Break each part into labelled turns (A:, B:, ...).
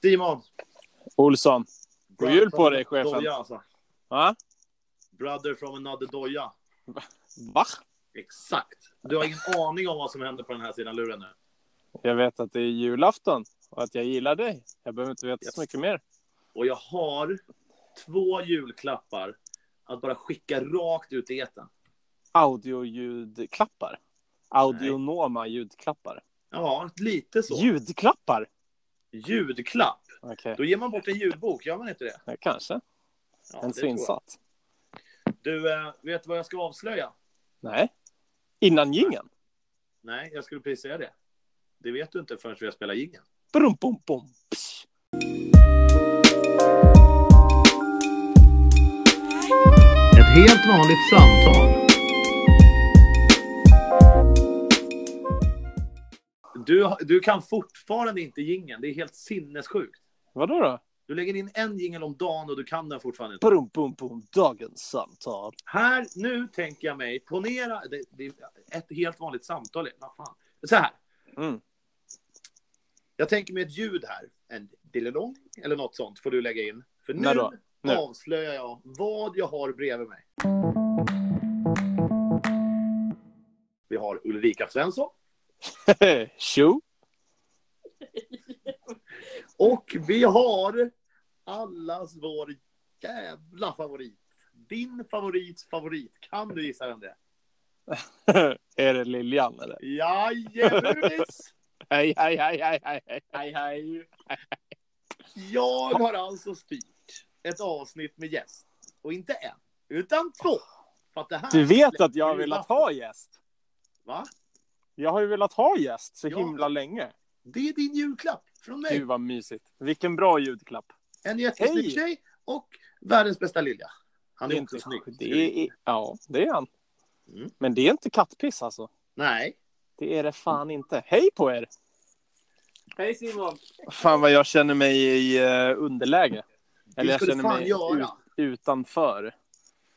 A: Simon.
B: Olsson. God jul på dig, chefen.
A: Doja, alltså.
B: Va?
A: Brother from another doja.
B: Va?
A: Exakt. Du har ingen aning om vad som händer på den här sidan luren nu.
B: Jag vet att det är julafton och att jag gillar dig. Jag behöver inte veta så mycket mer.
A: Och jag har två julklappar att bara skicka rakt ut i etern.
B: Audioljudklappar. Audionoma ljudklappar.
A: Ja, lite så.
B: Ljudklappar?
A: Ljudklapp.
B: Okej,
A: Då ger man bort en ljudbok, gör man inte det?
B: ja, kanske.
A: Ja, det
B: en
A: tror jag.
B: insatt.
A: Du, eh, vet du vad jag ska avslöja?
B: Nej. Innan jingeln.
A: Nej, jag skulle precis säga det. Det vet du inte förrän vi har spelat jingeln.
B: Brum, bum, bum. Psh.
A: Ett helt vanligt samtal. Du, har- du kan fortfarande inte jingeln. Det är helt sinnessjukt.
B: Vadå då?
A: Du lägger in en jingel om dagen och du kan den fortfarande inte.
B: Brum, bum, bum. Dagens samtal.
A: Här, nu tänker jag mig, ponera, det, det är ett helt vanligt samtal. är- Vad fan. Så här.
B: Mm.
A: Jag tänker mig ett ljud här. En dillelong eller något sånt får du lägga in. För nu,
B: När då? Nu.
A: avslöjar jag vad jag har bredvid mig. Vi har Ulrika Svensson
B: Tjo.
A: och vi har allas vår jävla favorit. Din favorits favorit. Kan du gissa vem det är?
B: är det Liljan eller?
A: Jajamenis!
B: Hej, hej, hej, hej, hej, hej.
C: Hej hej!
A: Jag har alltså styrt ett avsnitt med gäst. Och inte en, utan två. För att det här
B: Du vet att jag har
A: släpper
B: velat
A: julafton.
B: ha gäst.
A: Va?
B: Jag har ju velat ha gäst så
A: Ja.
B: himla länge.
A: Det är din julklapp från mig.
B: Gud vad mysigt. Vilken bra ljudklapp.
A: En jättesnygg
B: Hej.
A: tjej och världens bästa lilja. Han är, också snygg.
B: Det är, ja, det är han.
A: Mm.
B: Men det är inte kattpiss alltså.
A: Nej.
B: Det är det fan inte. Hej på er!
C: Hej Simon!
B: Fan vad jag känner mig i eh, underläge.
A: Eller
B: Eller
A: det
B: jag
A: ska du
B: känner
A: fan
B: mig
A: göra.
B: ut, utanför.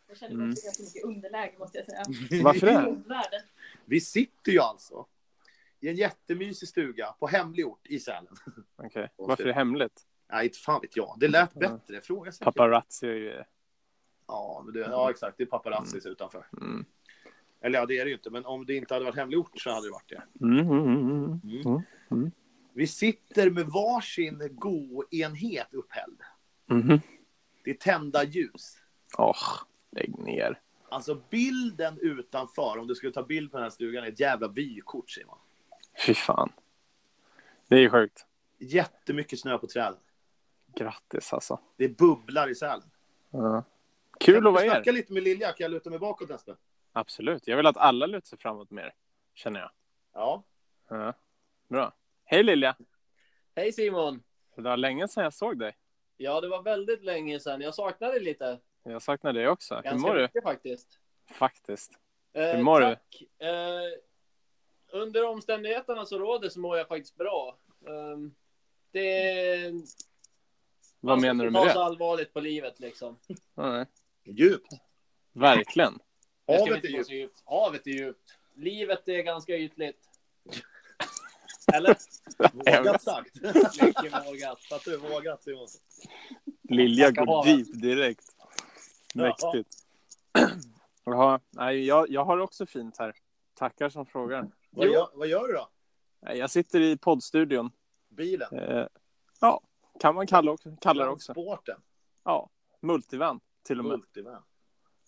D: Jag känner mig
B: Mm.
D: också ganska mycket underläge måste jag säga.
B: Varför det?
D: Omvärlden.
A: Vi sitter ju alltså i en jättemysig stuga på hemlig ort i Sälen.
B: Okej, varför är det hemligt?
A: Nej, inte fan vet jag. Det lät
B: Mm.
A: bättre. Fråga sig.
B: Paparazzi är ju...
A: Ja, men det, ja, exakt. Det är paparazzis utanför.
B: Mm.
A: Eller ja, det är det ju inte. Men om det inte hade varit hemlig ort så hade det varit det.
B: Mm, mm, mm, mm.
A: Vi sitter med varsin go-enhet upphälld.
B: Mhm.
A: Det är tända ljus.
B: Åh, lägg ner.
A: Alltså bilden utanför, om du skulle ta bild på den här stugan, är ett jävla vykort, Simon.
B: Fy fan. Det är ju sjukt.
A: Jättemycket snö på träden.
B: Grattis alltså.
A: Det bubblar i Sälen.
B: Ja. Kul att vara
A: Snacka
B: er.
A: lite med Lilja, kan jag luta mig bakåt nästa?
B: Absolut. Jag vill att alla lutar sig framåt mer, känner jag.
A: Ja.
B: Ja. Bra. Hej Lilja!
C: Hej Simon!
B: Det var länge sedan jag såg dig.
C: Ja, det var väldigt länge sedan. Jag saknade dig lite.
B: Jag saknar dig också. Hur
C: Ganska
B: mår du?
C: mycket faktiskt.
B: Faktiskt.
C: Eh,
B: Hur mår du?
C: tack. Eh, under omständigheterna som råder så mår jag faktiskt bra. Ehm, det...
B: Vad menar du med
C: Man ska inte ta
B: det?
C: så allvarligt på livet liksom.
B: Nej.
A: Djupt.
B: Verkligen.
C: Det ska vi
A: Havet
C: inte
A: är
C: ta
A: djupt.
C: så djupt. Havet är djupt. Livet är ganska ytligt. Eller?
A: Vågat sagt.
C: Mycket vågat.
A: Att du vågat, Simon.
B: Lilja
C: Snacka
B: går
C: havet.
B: deep direkt.
A: Jaha.
B: Mäktigt. Jaha. Nej, jag, jag har också fint här. Tackar som frågar.
A: Vad
C: Jo.
A: gör, vad gör du då?
B: Nej, Jag sitter i poddstudion.
A: Bilen?
B: Eh, ja, kan man kalla, också- kalla det också.
A: Sporten?
B: Ja, multivan till och med.
A: Multivan.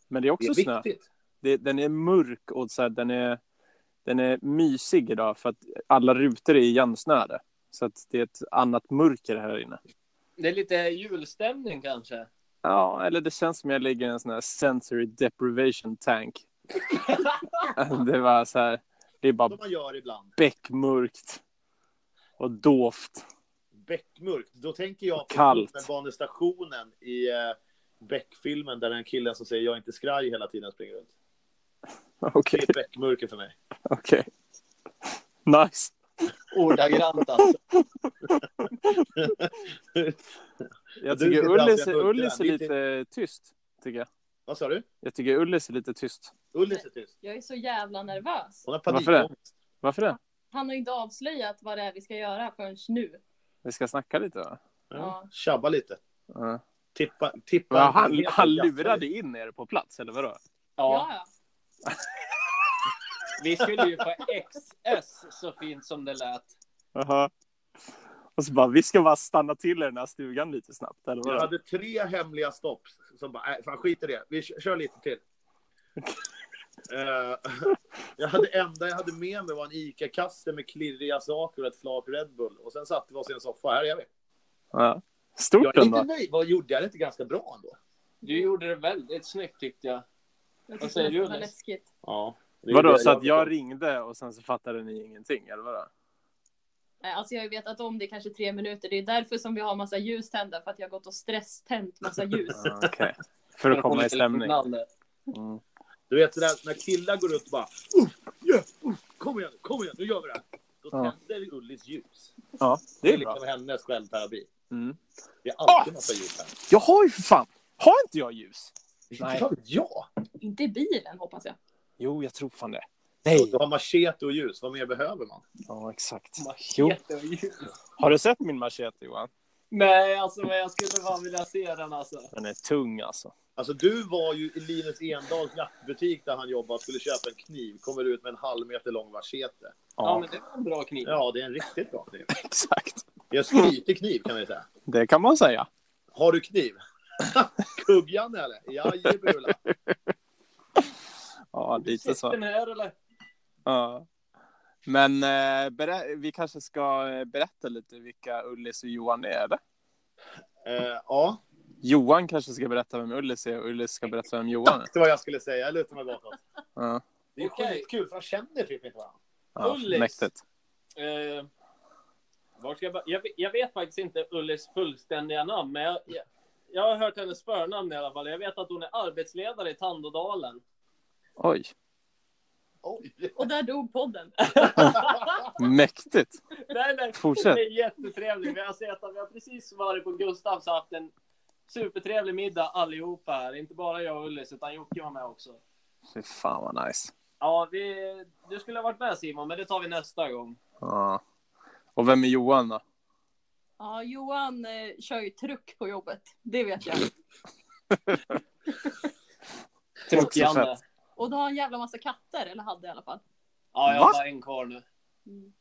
B: Men det är
A: Det
B: också
A: är
B: snö.
A: viktigt.
B: Det, den är mörk och så här, den, är, den är mysig idag för att alla rutor är igensnöade. Så att det är ett annat mörker här inne.
C: Det är lite julstämning kanske.
B: Ja, eller det känns som jag ligger i en sån här sensory deprivation tank. det var så här, det är bara
A: Som man gör ibland.
B: bäckmörkt och dovt.
A: Bäckmörkt. Då tänker jag på
B: Kallt.
A: tunnelbanestationen i eh, Beck-filmen där den killen som säger jag är inte skraj hela tiden springer runt. Det
B: Okej,
A: är Beck-mörker för mig.
B: okej. Nice.
C: Ordagrant alltså.
B: Jag
A: Du sitter
B: tycker
A: alltid
B: Ullis,
A: i mörkret.
B: Ullis är
A: Vi
B: lite tyst, tycker jag.
A: Vad sa du?
B: Jag tycker Ullis är lite tyst.
A: Ullis är tyst.
D: Jag är så jävla nervös.
A: Hon har
B: Varför det?
A: panikångest.
B: Varför det?
D: Han har inte avslöjat vad det är vi ska göra förrän nu.
B: Vi ska snacka lite, va?
A: Ja.
D: Ja.
A: Tjabba lite.
B: Ja.
A: Tippa. tippa
B: Ja, han,
A: heter
B: han
A: Jaffari.
B: lurade in er på plats, eller vadå?
C: Ja,
D: Ja, ja.
C: vi skulle ju på XS så fint som det lät.
B: Jaha. Och så bara, vi ska bara stanna till i den här stugan lite snabbt, eller
A: Jag
B: vadå?
A: hade tre hemliga stopp som bara, nej, fan skit i det. Vi kö- kör lite till. Eh, jag hade enda jag hade med mig var en ICA-kasse med klirriga saker och ett flak Red Bull. Och sen satte vi oss i en soffa. Här är vi.
B: Ja.
A: Jag
B: Stort
A: är inte
B: ändå.
A: nöjd. Vad gjorde jag det inte ganska bra ändå?
C: Du gjorde det väldigt snyggt tyckte jag.
D: Jag
C: Vad
D: tyckte
C: säger
D: det
C: du,
D: var
C: Jonas?
D: läskigt.
A: Ja.
B: Vadå, så att jag ringde och sen så fattade ni ingenting, eller vadå?
D: Nej, Alltså jag har ju vetat om det i kanske tre minuter. Det är därför som vi har massa ljus tända. För att jag har gått och stresstänt massa ljus.
B: Ja, Okej. För att komma i stämning. Mm.
A: Du vet sådär när killar går ut och bara, uff, yeah, uff, kom igen, kom igen, nu gör vi det här. Då
B: Ja.
A: tänder Ullis ljus.
B: Ja,
A: Det
B: det
A: är
B: är bra.
A: liksom hennes självterapi.
B: Mm.
A: Det är alltid massa ljus här.
B: Jag har ju för fan, har inte jag ljus? Nej.
A: Ja, ja.
D: Inte i bilen hoppas jag.
B: Jo, jag tror fan det.
A: Och Du har machete och ljus, vad mer behöver man?
B: Ja, exakt. Jo.
C: Machete och ljus.
B: Har du sett min machete Johan?
C: Nej, alltså men jag skulle fan vilja se den alltså.
B: Den är tung alltså.
A: Alltså du var ju i Linus Endahls jaktbutik där han jobbar och skulle köpa en kniv. Kommer ut med en halv meter lång machete.
C: Ja, men det var en bra kniv.
A: Ja, det är en riktigt bra kniv.
B: exakt.
A: Det är en skrytig kniv kan vi säga.
B: Det kan man säga.
A: Har du kniv? Kuggan eller? Jajebula.
B: Ja, lite så.
C: Den här eller?
B: Ja. Men eh, berä- vi kanske ska eh, berätta lite vilka Ullis och Johan är, eller?
A: Eh, ja,
B: Johan kanske ska berätta vem Ullis är och Ullis ska berätta vem Johan är.
A: det var jag skulle säga. Jag lutar mig bakåt.
B: Ja,
A: Det är
C: Okej.
A: skitkul, för de känner typ inte varandra.
B: ja,
C: Ullis.
B: mäktigt.
C: Eh, var ska jag, bör- jag, vet- jag vet faktiskt inte Ullis fullständiga namn, men jag, jag, jag har hört hennes förnamn i alla fall. Jag vet att hon är arbetsledare i Tandådalen.
B: Oj,
A: Oj!
D: Och där dog podden.
B: mäktigt.
C: Nej, nej.
B: Fortsätt.
C: Det är jättetrevligt. Vi har, sett att vi har precis varit på Gustavs och haft en supertrevlig middag allihopa här. Inte bara jag och Ullis, utan Jocke var med också.
B: Fy fan vad nice.
C: Ja, vi, du skulle ha varit med Simon, men det tar vi nästa gång.
B: Ja. Och vem är Johan då?
D: Ja, Johan eh, kör ju truck på jobbet. Det vet jag.
B: Också
C: Janne.
B: fett.
D: Och då har han en jävla massa katter. Eller hade i alla fall.
C: Ja, jag har
B: Va?
C: bara en kvar nu.
D: Mm.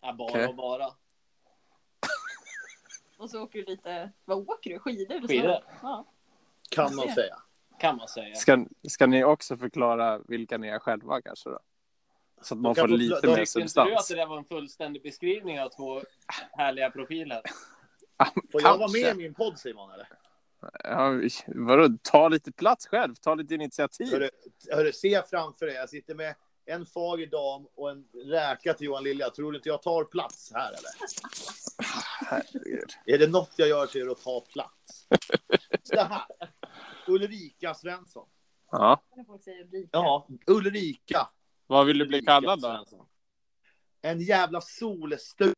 C: Ja, bara
B: Okej.
C: och bara.
D: Och så åker du lite... Vad åker du? Skidor? Eller så?
C: Skidor,
D: Ja.
A: Kan man säga.
C: kan man säga.
B: Ska, ska ni också förklara vilka ni är själva kanske då? Så att man
A: kan
B: får
A: få-
B: lite
A: de-
B: mer
C: Tyckte inte du att
B: substans.
C: det där var en fullständig beskrivning av två härliga profiler?
A: Får jag vara
B: Kanske.
A: med i min podd Simon? Eller?
B: Ja, vadå, ta lite plats själv, ta lite initiativ.
A: Hörru, hörru, se framför dig. Jag sitter med en fager dam och en räka till Johan Lilja. Tror du inte jag tar plats här eller?
B: Herregud.
A: Är det något jag gör så är det att ta plats. Så här. Ulrika Svensson.
B: Ja.
D: När folk säger rika.
A: Ja, Ulrika.
B: Vad vill du bli
A: Ulrika
B: kallad då?
A: Svensson. En jävla solstol.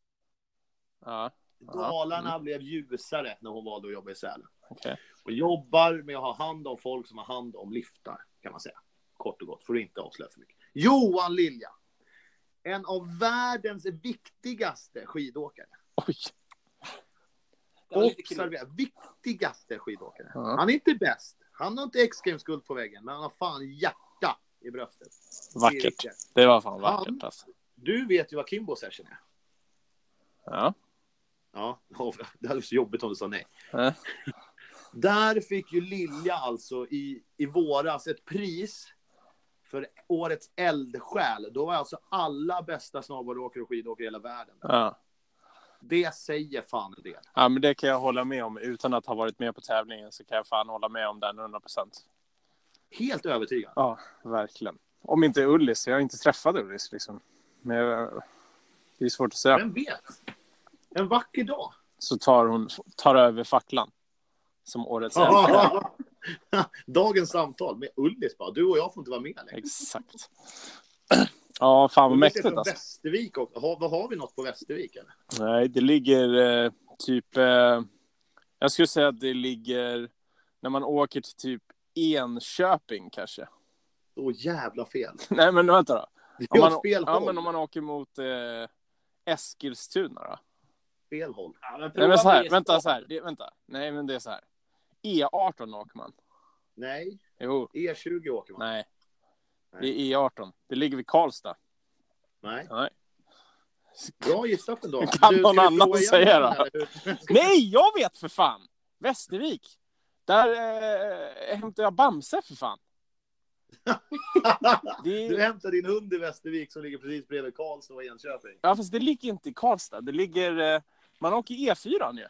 B: Ja. Mm.
A: Dalarna blev ljusare när hon valde att jobba i Sälen.
B: Okej.
A: Och jobbar med att ha hand om folk som har hand om liftar, kan man säga. Kort och gott, för att inte avslöja för mycket. Johan Lilja. En av världens viktigaste skidåkare.
B: Oj.
C: Det var lite kul.
A: Observera, viktigaste skidåkare.
B: Ja.
A: Han är inte bäst. Han har inte X Games-guld på väggen, men han har fan hjärta i bröstet. Det är
B: Vackert.
A: riktigt.
B: Det var fan vackert
A: Han-
B: alltså.
A: Du vet ju vad Kimbo Session är.
B: Ja.
A: Ja, det hade varit så jobbigt om du sa nej.
B: Ja.
A: Där fick ju Lilja alltså i, i våras ett pris för årets eldsjäl. Då var alltså alla bästa snowboardåkare och skidåkare i hela världen.
B: Ja.
A: Det säger fan en del.
B: ja, men det kan jag hålla med om. Utan att ha varit med på tävlingen så kan jag fan hålla med om den 100 procent.
A: Helt övertygad.
B: Ja, verkligen. Om inte Ullis, jag har inte träffat Ullis liksom. Men jag, det är svårt att säga.
A: Vem vet? En vacker dag.
B: Så tar hon tar över facklan. Som årets äldre.
A: Dagens samtal med Ullis bara. Du och jag får inte vara med längre.
B: Exakt. Ja, fan vad
A: Ullis är
B: mäktigt
A: från
B: alltså.
A: Västervik också. Har, vad har vi något på Västervik? Eller?
B: Nej, det ligger eh, typ... Eh, jag skulle säga att det ligger när man åker till typ Enköping kanske.
A: Åh jävla fel.
B: Nej, men vänta då.
A: Det är
B: Om
A: åt
B: man,
A: fel
B: ja,
A: håll.
B: men om man åker mot eh, Eskilstuna då.
A: fel håll.
C: Ja, men prova
B: Nej men så här,
C: Wisla.
B: vänta så här. Det, vänta. Nej men det är så här. E18 åker man.
A: Nej,
B: Jo.
A: E20 åker man.
B: Nej. Det är E18. Det ligger vid Karlstad.
A: Nej.
B: Nej.
A: Bra gissat ändå.
B: Kan
A: Du,
B: någon
A: ska vi
B: annan
A: prova igen
B: säga
A: den
B: då?
A: här?
B: Nej, jag vet för fan! Västervik. Där eh, hämtar jag Bamse för fan. Det
A: Du
B: är,
A: hämtar din hund i Västervik som ligger precis bredvid Karlstad och Enköping.
B: ja, fast det ligger inte i Karlstad. Det ligger... Eh, man åker E4 ju.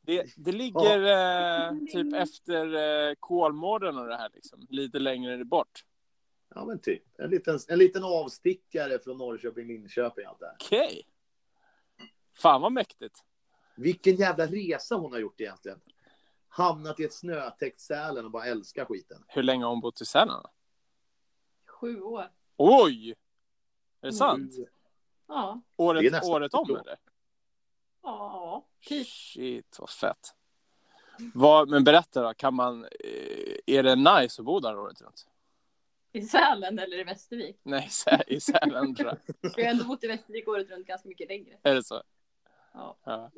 B: Det, det ligger eh, typ efter eh, Kolmården och det här liksom. Lite längre bort.
A: Ja, men typ. En liten, en liten avstickare från Norrköping, Linköping, allt det här.
B: Okej. Fan vad mäktigt.
A: Vilken jävla resa hon har gjort egentligen. Hamnat i ett snötäckt Sälen och bara älskar skiten.
B: Hur länge har hon bott i Sälen? då?
D: Sju år.
B: Oj! Är det sant?
D: Ja.
B: Året,
A: Mm. Det är nästan
B: året om
A: ett år.
B: eller?
D: Ja. Typ.
B: Shit, vad fett. Vad, men berätta då, kan man, eh, är det nice att bo där året runt?
D: I Sälen eller i Västervik.
B: Nej, i Sä- i Sälen tror jag.
D: Vi har ändå bott i Västervik året runt ganska mycket längre.
B: Är det så?
D: Ja.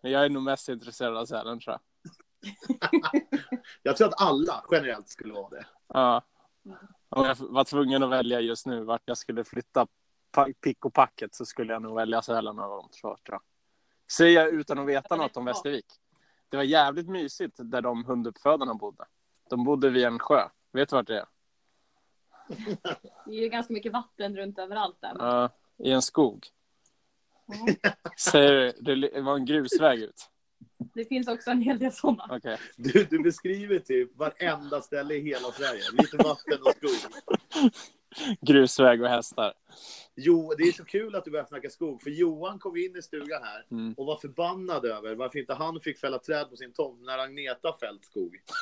B: Men jag är nog mest intresserad av Sälen tror jag.
A: Jag tror att alla generellt skulle vara det.
B: Ja. Om jag var tvungen att välja just nu vart jag skulle flytta pa- pick och packet så skulle jag nog välja Sälen av dem tror jag. Säger jag utan att veta något om Västervik. Det var jävligt mysigt där de hunduppfödarna bodde. De bodde vid en sjö. Vet du vart det är?
D: Det är ju ganska mycket vatten runt överallt där.
B: Ja, I en skog.
D: Ja.
B: Säger du, det li- var en grusväg ut?
D: Det finns också en hel del sådana.
B: Okej.
A: Du, du beskriver typ varenda ställe i hela Sverige. Lite vatten och skog.
B: Grusväg och hästar.
A: Jo, det är så kul att du börjar snacka skog, för Johan kom in i stugan här
B: Mm.
A: och var förbannad över varför inte han fick fälla träd på sin tomt när Agneta fällt skog.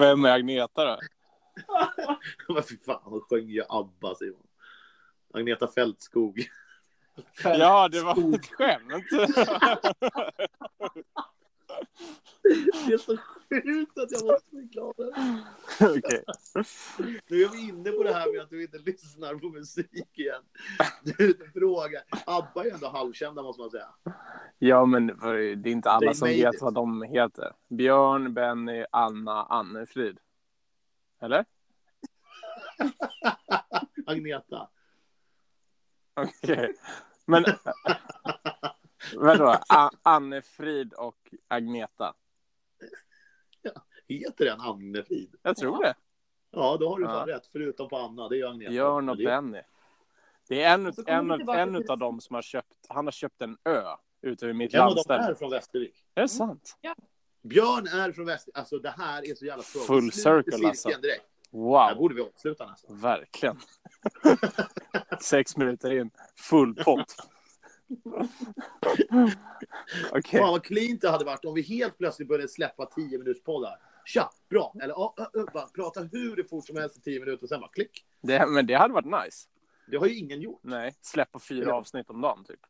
B: Vem är Agneta då?
A: Men fy fan, hon sjöng ju ABBA, Simon. Agneta fällt skog.
B: Ja, det var ett skämt.
A: Det är så sjukt att jag måste bli glad. över.
B: Okej.
A: Nu är vi inne på det här med att du inte lyssnar på musik igen. Du frågar. ABBA är ändå halvkända, måste man säga.
B: Ja, men det var ju- det är inte alla
A: They
B: som
A: made
B: vet
A: it.
B: vad de heter. Björn, Benny, Anna, Annefrid. Eller?
A: Agneta.
B: Okej. Men... Vadå? A- Annefrid och Agneta.
A: Heter den Agnefrid?
B: Jag tror det.
A: Ja, då har du fan
B: Ja.
A: rätt. Förutom på Anna, det är ju Agneta.
B: Björn och
A: Det är-
B: Benny. Det är en,
D: Så kommer
B: en,
D: vi tillbaka
B: en
D: till-
B: av dem som har köpt, han har köpt en ö ute vid mitt
A: En av dem
B: landställe.
A: är från Västervik.
B: Är det sant?
A: Björn är från väst. Alltså det här är så jävla tråkigt.
B: Full
A: Slut i
B: circle,
A: cirkeln
B: alltså.
A: Direkt. Här
B: Wow,
A: borde vi avsluta nästan.
B: verkligen. Sex minuter in, full pott. Okej,
A: Fan vad cleant det hade varit om vi helt plötsligt började släppa 10 minuters poddar. Tja, bra. Eller ja, ja, ja, bara prata hur fort som helst i 10 minuter och sen bara klick.
B: det, men det hade varit nice.
A: Det har ju ingen gjort.
B: Nej, släppa fyra
A: Ja.
B: avsnitt om dagen typ.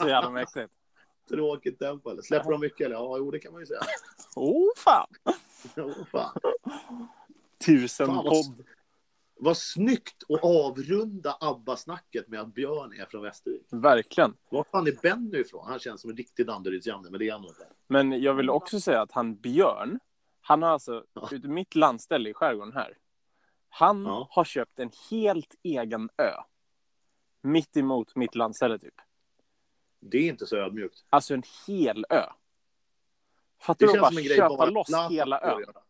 B: Så jävla mäktigt.
A: Tråkigt tempo. Eller släpper de mycket? Eller ja, jo det kan man ju säga.
B: Oh fan!
A: Jo, fan.
B: Tusen
A: Fan, vad-
B: podd.
A: Vad snyggt att avrunda ABBA-snacket med att Björn är från Västervik.
B: Verkligen.
A: Var fan är Benny ifrån? Han känns som en riktig Danderydsjanne, men det är han nog inte.
B: Men jag vill också säga att han Björn, han har alltså,
A: Ja.
B: ute i mitt landställe i skärgården här, han
A: Ja.
B: har köpt en helt egen ö. Mitt emot mitt landställe typ.
A: Det är inte så ödmjukt.
B: Alltså en hel ö.
A: Det
B: Fattar du
A: känns
B: att bara
A: som en grej
B: köpa
A: bara
B: loss
A: Zlatan
B: hela
A: skulle
B: ön
A: göra.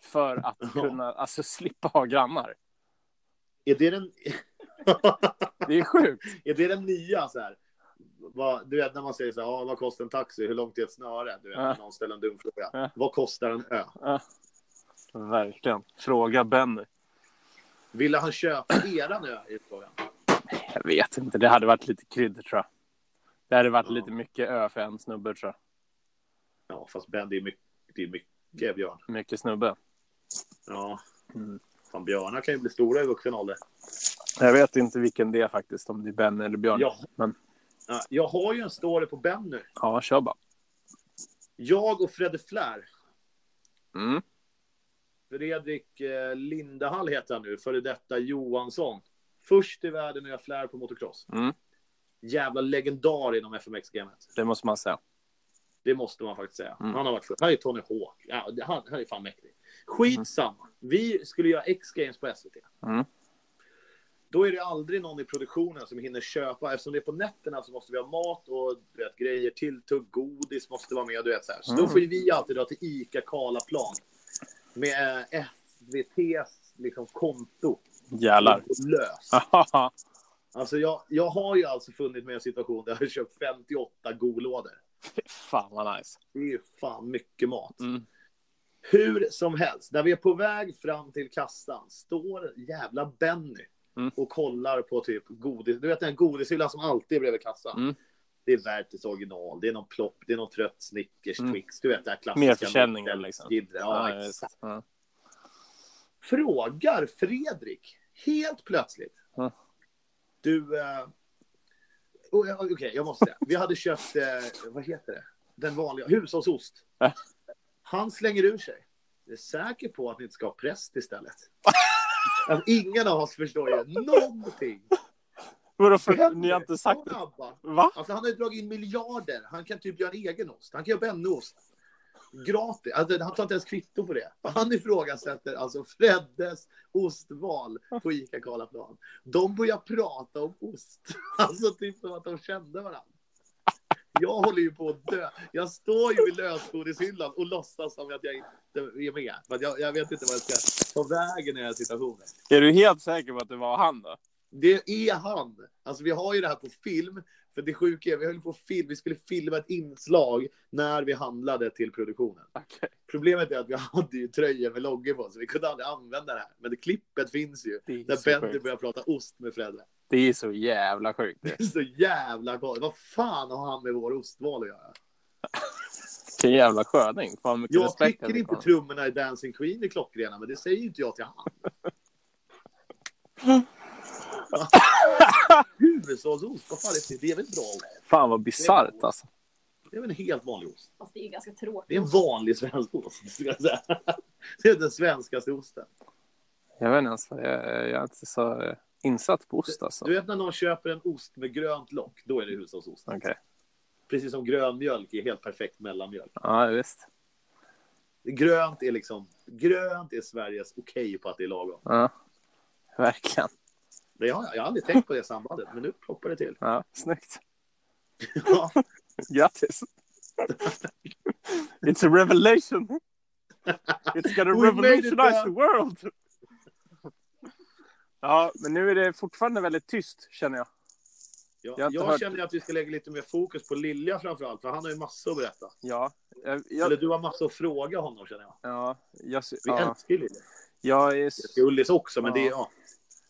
B: för att
A: Ja.
B: kunna, alltså slippa ha grannar.
A: Är det den,
B: Det är sjukt.
A: är det den nya så här? Vad, du vet när man säger så här, ah, vad kostar en taxi, hur långt är ett snöre? Du vet,
B: Ja.
A: när någon ställer en dum fråga.
B: Ja.
A: Vad kostar en ö?
B: Verkligen. Fråga Benny.
A: Ville han köpa eran ö? Är frågan.
B: Jag vet inte, det hade varit lite krydd tror jag. Det hade varit
A: Ja.
B: lite mycket ö för en snubbe tror
A: Ja, fast Ben, det är mycket, det är mycket björn.
B: jag. Mycket snubbe.
A: Ja.
B: Mm.
A: Fan, björnar kan ju bli stora i vuxen ålder.
B: Jag vet inte vilken det är faktiskt, om det är Benny eller Björn.
A: Jag,
B: Men-
A: Ja, jag har ju en story på Ben nu.
B: Ja, kör bara.
A: Jag och Fredde Flär.
B: Mm.
A: Fredrik eh, Lindehall heter han nu, före detta Johansson. Först i världen att göra flärr på motocross.
B: Mm.
A: Jävla legendar inom FMX-gamet.
B: Det måste man säga.
A: Det måste man faktiskt säga.
B: Mm.
A: Han har varit för... Han är Tony Hawk. Ja, det- han, han är fan mäktig. Skitsamma. Vi skulle göra X-Games på SVT.
B: Mm.
A: Då är det aldrig någon i produktionen som hinner köpa. Eftersom det är på nätterna så måste vi ha mat och du vet, grejer till. Tugg, godis måste vara med. Du vet, så här. så då
B: Mm.
A: får ju vi alltid dra till ICA Karlaplan. Med eh, SVTs liksom, konto.
B: Jävlar.
A: Löst.
B: Ah.
A: Alltså jag, jag har ju alltså funnit mig i en situation där jag har köpt 58 golådor.
B: Fan vad nice.
A: Det är ju fan mycket mat.
B: Mm.
A: Hur som helst, när vi är på väg fram till kassan står jävla Benny
B: Mm.
A: och kollar på typ godis. Du vet den godishyllan som alltid är bredvid kassan.
B: Mm.
A: Det är Werthers original, det är någon plopp, det är någon trött Snickers,
B: Mm.
A: Twix, du vet det här klassiska.
B: Mer försäljningen,
A: Nutella,
B: liksom.
A: Gidra, Ja,
B: jag
A: exakt.
B: vet. Ja.
A: Frågar Fredrik helt plötsligt.
B: Ja.
A: Du, eh, oh, ja, okej jag måste det. Vi hade köpt, eh, vad heter det, den vanliga, hushållsost.
B: Ja.
A: Han slänger ur sig. Jag är säker på att ni inte ska ha präst istället. Att ingen av oss förstår ju någonting.
B: Vadå, för, ni har inte sagt det?
A: det?
B: Va?
A: Alltså han har ju dragit in miljarder. Han kan typ göra en egen ost. Han kan göra Benny-ost. Gratis. Alltså, han tar inte ens kvitto på det. Han ifrågasätter alltså Freddes ostval på ICA Karlaplan. De börjar prata om ost. Alltså typ som att de kände varandra. Jag håller ju på att dö. Jag står ju vid lösgodishyllan och låtsas som att jag inte är med. För att jag, jag vet inte vad jag ska ta vägen i den här situationen.
B: Är du helt säker på att det var han då?
A: Det är han. Alltså vi har ju det här på film. För det sjuka är, vi höll på film, vi skulle filma ett inslag när vi handlade till produktionen.
B: Okej.
A: Problemet är att vi hade ju tröjor med loggor på, så vi kunde aldrig använda det här. Men det, klippet finns ju,
B: Det är
A: där
B: så
A: Benny
B: sjukt.
A: börjar prata ost med Fredde.
B: Det är så jävla sjukt.
A: Det är så jävla galet. Vad fan har han med vår ostval att göra?
B: Vilken jävla sköning. Fan mycket
A: Jag
B: respekt.
A: klickar inte
B: ändå.
A: trummorna i Dancing Queen i klockrena, men det säger ju inte jag till han. Hushållsost, vad fan är det? Det är väl bra ost?
B: Fan vad bisarrt alltså.
A: Det är väl en helt vanlig ost?
D: Fast det är ganska
A: Det är
D: tråkigt.
A: en vanlig svensk ost, skulle jag säga. Det är den svenskaste osten.
B: Jag vet inte ens. Jag, jag är inte så eh, insatt på ost alltså.
A: Du vet när någon köper en ost med grönt lock, då är det hushållsost.
B: Okej.
A: Precis som grönmjölk är helt perfekt mellanmjölk.
B: Ja, visst.
A: Grönt är liksom, grönt är Sveriges okej på att det är lagom.
B: Ja. Verkligen.
A: Det har jag, jag har aldrig tänkt på det sambandet, men nu ploppar det till.
B: Ja, snyggt.
A: Ja,
B: Grattis! It's a revelation! It's gonna
A: We made it,
B: revolutionize
A: man.
B: the world! Ja, men nu är det fortfarande väldigt tyst, känner jag.
A: jag
B: Jag har
A: jag,
B: inte hört-
A: känner att vi ska lägga lite mer fokus på Lilja framför allt, för han har ju massor att berätta.
B: Ja, jag,
A: Eller
B: jag,
A: du har massor att fråga honom, känner jag.
B: ja, jag,
A: Vi
B: ja,
A: älskar ju Lilja.
B: jag är...
A: Det är Ullis också, men det är,
B: Ja.
A: ja.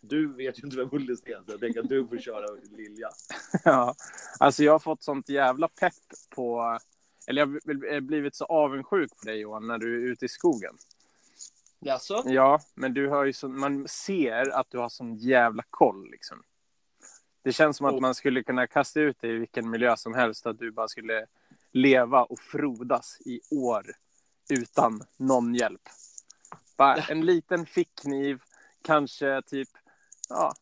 A: Du vet ju inte vem Ullis är, så jag tänker att du får köra Lilja.
B: Ja, alltså jag har fått sånt jävla pepp på... Eller jag har blivit så avundsjuk på dig, Johan, när du är ute i skogen.
C: Jaså?
B: Ja, men du har ju så, man ser att du har sån jävla koll liksom. Det känns som att man skulle kunna kasta ut dig i vilken miljö som helst, att du bara skulle leva och frodas i år utan någon hjälp. Bara en liten fickkniv, kanske typ, ja,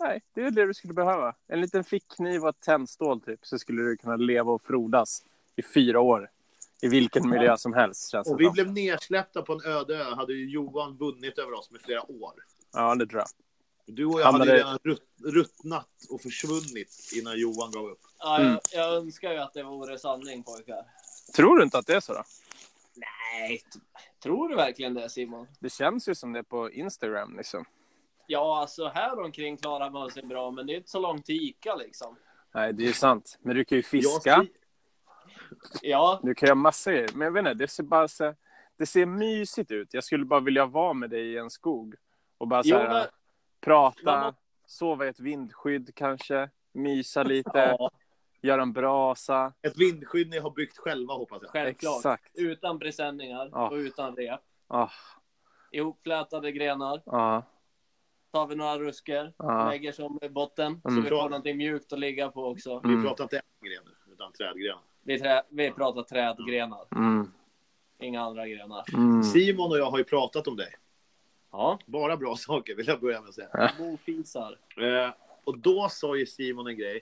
B: nej, det är det du skulle behöva. En liten fickkniv och ett tändstål typ, så skulle du kunna leva och frodas i fyra år. I vilken miljö som helst känns det
A: Och vi
B: som.
A: blev nedsläppta på en öde ö, hade ju Johan vunnit över oss med flera år.
B: Ja, det tror jag.
A: Du och jag
B: Han
A: hade ju
B: hade-
A: redan rutt, ruttnat och försvunnit innan Johan gav upp.
C: Ja,
B: Mm.
C: jag, jag önskar ju att det vore sanning pojkar.
B: Tror du inte att det är så då?
C: Nej, t- tror du verkligen det Simon?
B: Det känns ju som det på Instagram liksom.
C: Ja, alltså här omkring klarar man sig bra, men det är inte så långt till Ica liksom.
B: Nej, det är ju sant. Men du kan ju fiska.
A: Jag,
C: Ja,
B: Du kan göra massa grejer. Men jag vet inte, det ser bara så... Det ser mysigt ut. Jag skulle bara vilja vara med dig i en skog. Och bara så
C: Jo,
B: här,
C: men-
B: prata,
C: Man må-
B: sova i ett vindskydd kanske, mysa lite,
A: ja,
B: göra en brasa.
A: ett vindskydd ni har byggt själva hoppas jag.
C: självklart.
B: Exakt.
C: Utan presenningar
B: Ja.
C: och utan rep.
B: Ah,
C: Ihopflätade grenar.
B: ah,
C: Tar vi några ruskor.
B: Ja.
C: Lägger som i botten. Så
B: Mm.
C: vi får någonting mjukt att ligga på också.
A: Vi
B: Mm.
A: pratar inte en gren nu, utan trädgren.
C: Vi, trä, vi pratar trädgrenar.
B: mm,
C: Inga andra grenar.
B: mm.
A: Simon och jag har ju pratat om dig.
C: Ja.
A: Bara bra saker vill jag börja med att säga.
C: Bofisar.
A: Eh, och då sa ju Simon en grej.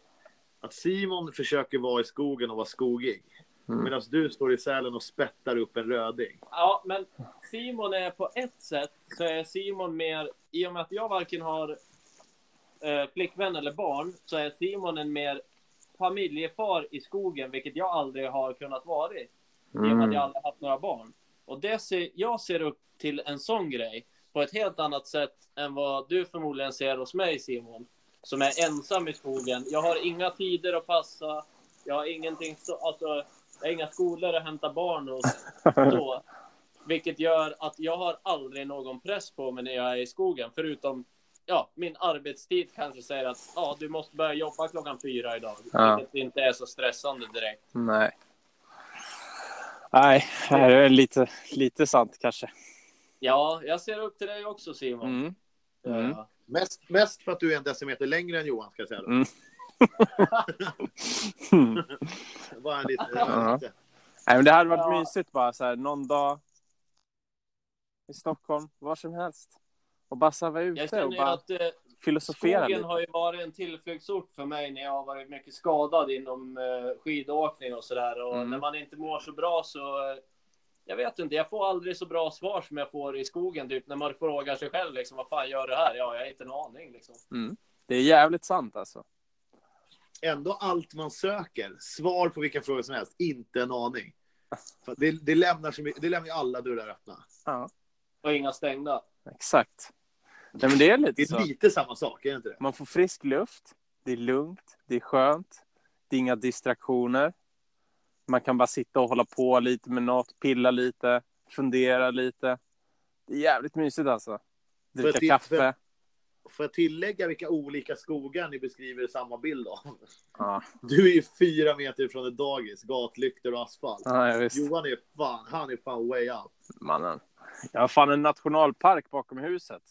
A: Att Simon försöker vara i skogen och vara skogig.
B: Mm.
A: Medan du står i Sälen och spettar upp en röding.
C: Ja, men Simon är på ett sätt så är Simon mer, i och med att jag varken har eh, flickvän eller barn, så är Simon en mer familjefar i skogen, vilket jag aldrig har kunnat vara. I i och
B: mm.
C: med att jag aldrig haft några barn. Och det ser, jag ser upp till en sån grej på ett helt annat sätt än vad du förmodligen ser hos mig Simon. Som är ensam i skogen. Jag har inga tider att passa. Jag har ingenting så, alltså, jag har inga skolor att hämta barn hos. Så, vilket gör att jag har aldrig någon press på mig när jag är i skogen. Förutom ja, min arbetstid kanske säger att ja, du måste börja jobba klockan fyra idag.
B: Ja.
C: Vilket inte är så stressande direkt.
B: Nej. Nej, det är lite, lite sant kanske.
C: Ja, jag ser upp till dig också Simon.
B: Mm. Mm.
C: Ja.
A: Mest, mest för att du är en decimeter längre än Johan, ska jag säga. Då.
B: Mm. Mm.
A: Bara en liten...
B: Ja. Nej, men det hade varit
C: Ja.
B: mysigt bara så här någon dag i Stockholm, var som helst. Och bara så här vara
C: Jag
B: ute och
C: känner ju
B: bara
C: att eh,
B: filosofera
C: skogen
B: lite.
C: har ju varit en tillflyktsort för mig när jag har varit mycket skadad inom eh, skidåkning och sådär. Och
B: Mm.
C: när man inte mår så bra så... eh, Jag vet inte, jag får aldrig så bra svar som jag får i skogen. Typ när man frågar sig själv liksom, vad fan gör du här? Ja, jag har inte en aning liksom.
B: Det är jävligt sant alltså.
A: Ändå allt man söker, svar på vilken fråga som helst, inte en aning. För det, det, lämnar så mycket, det lämnar ju alla dörrar öppna.
B: Ja,
C: Och inga stängda.
B: exakt. Nej, men det är
A: Det
B: lite så.
A: är lite samma sak, är det inte det?
B: Man får frisk luft, det är lugnt, det är skönt, det är inga distraktioner. Man kan bara sitta och hålla på lite med något, pilla lite, fundera lite. Det är jävligt mysigt alltså. Dricka
A: det-
B: kaffe.
A: Får jag tillägga vilka olika skogar ni beskriver samma bild av?
B: Ja,
A: Du är ju fyra meter från ett dagis, gatlyktor och asfalt.
B: ja ja, visst.
A: Johan är fan, han är fan way out.
B: mannen. Jag har fan en nationalpark bakom huset.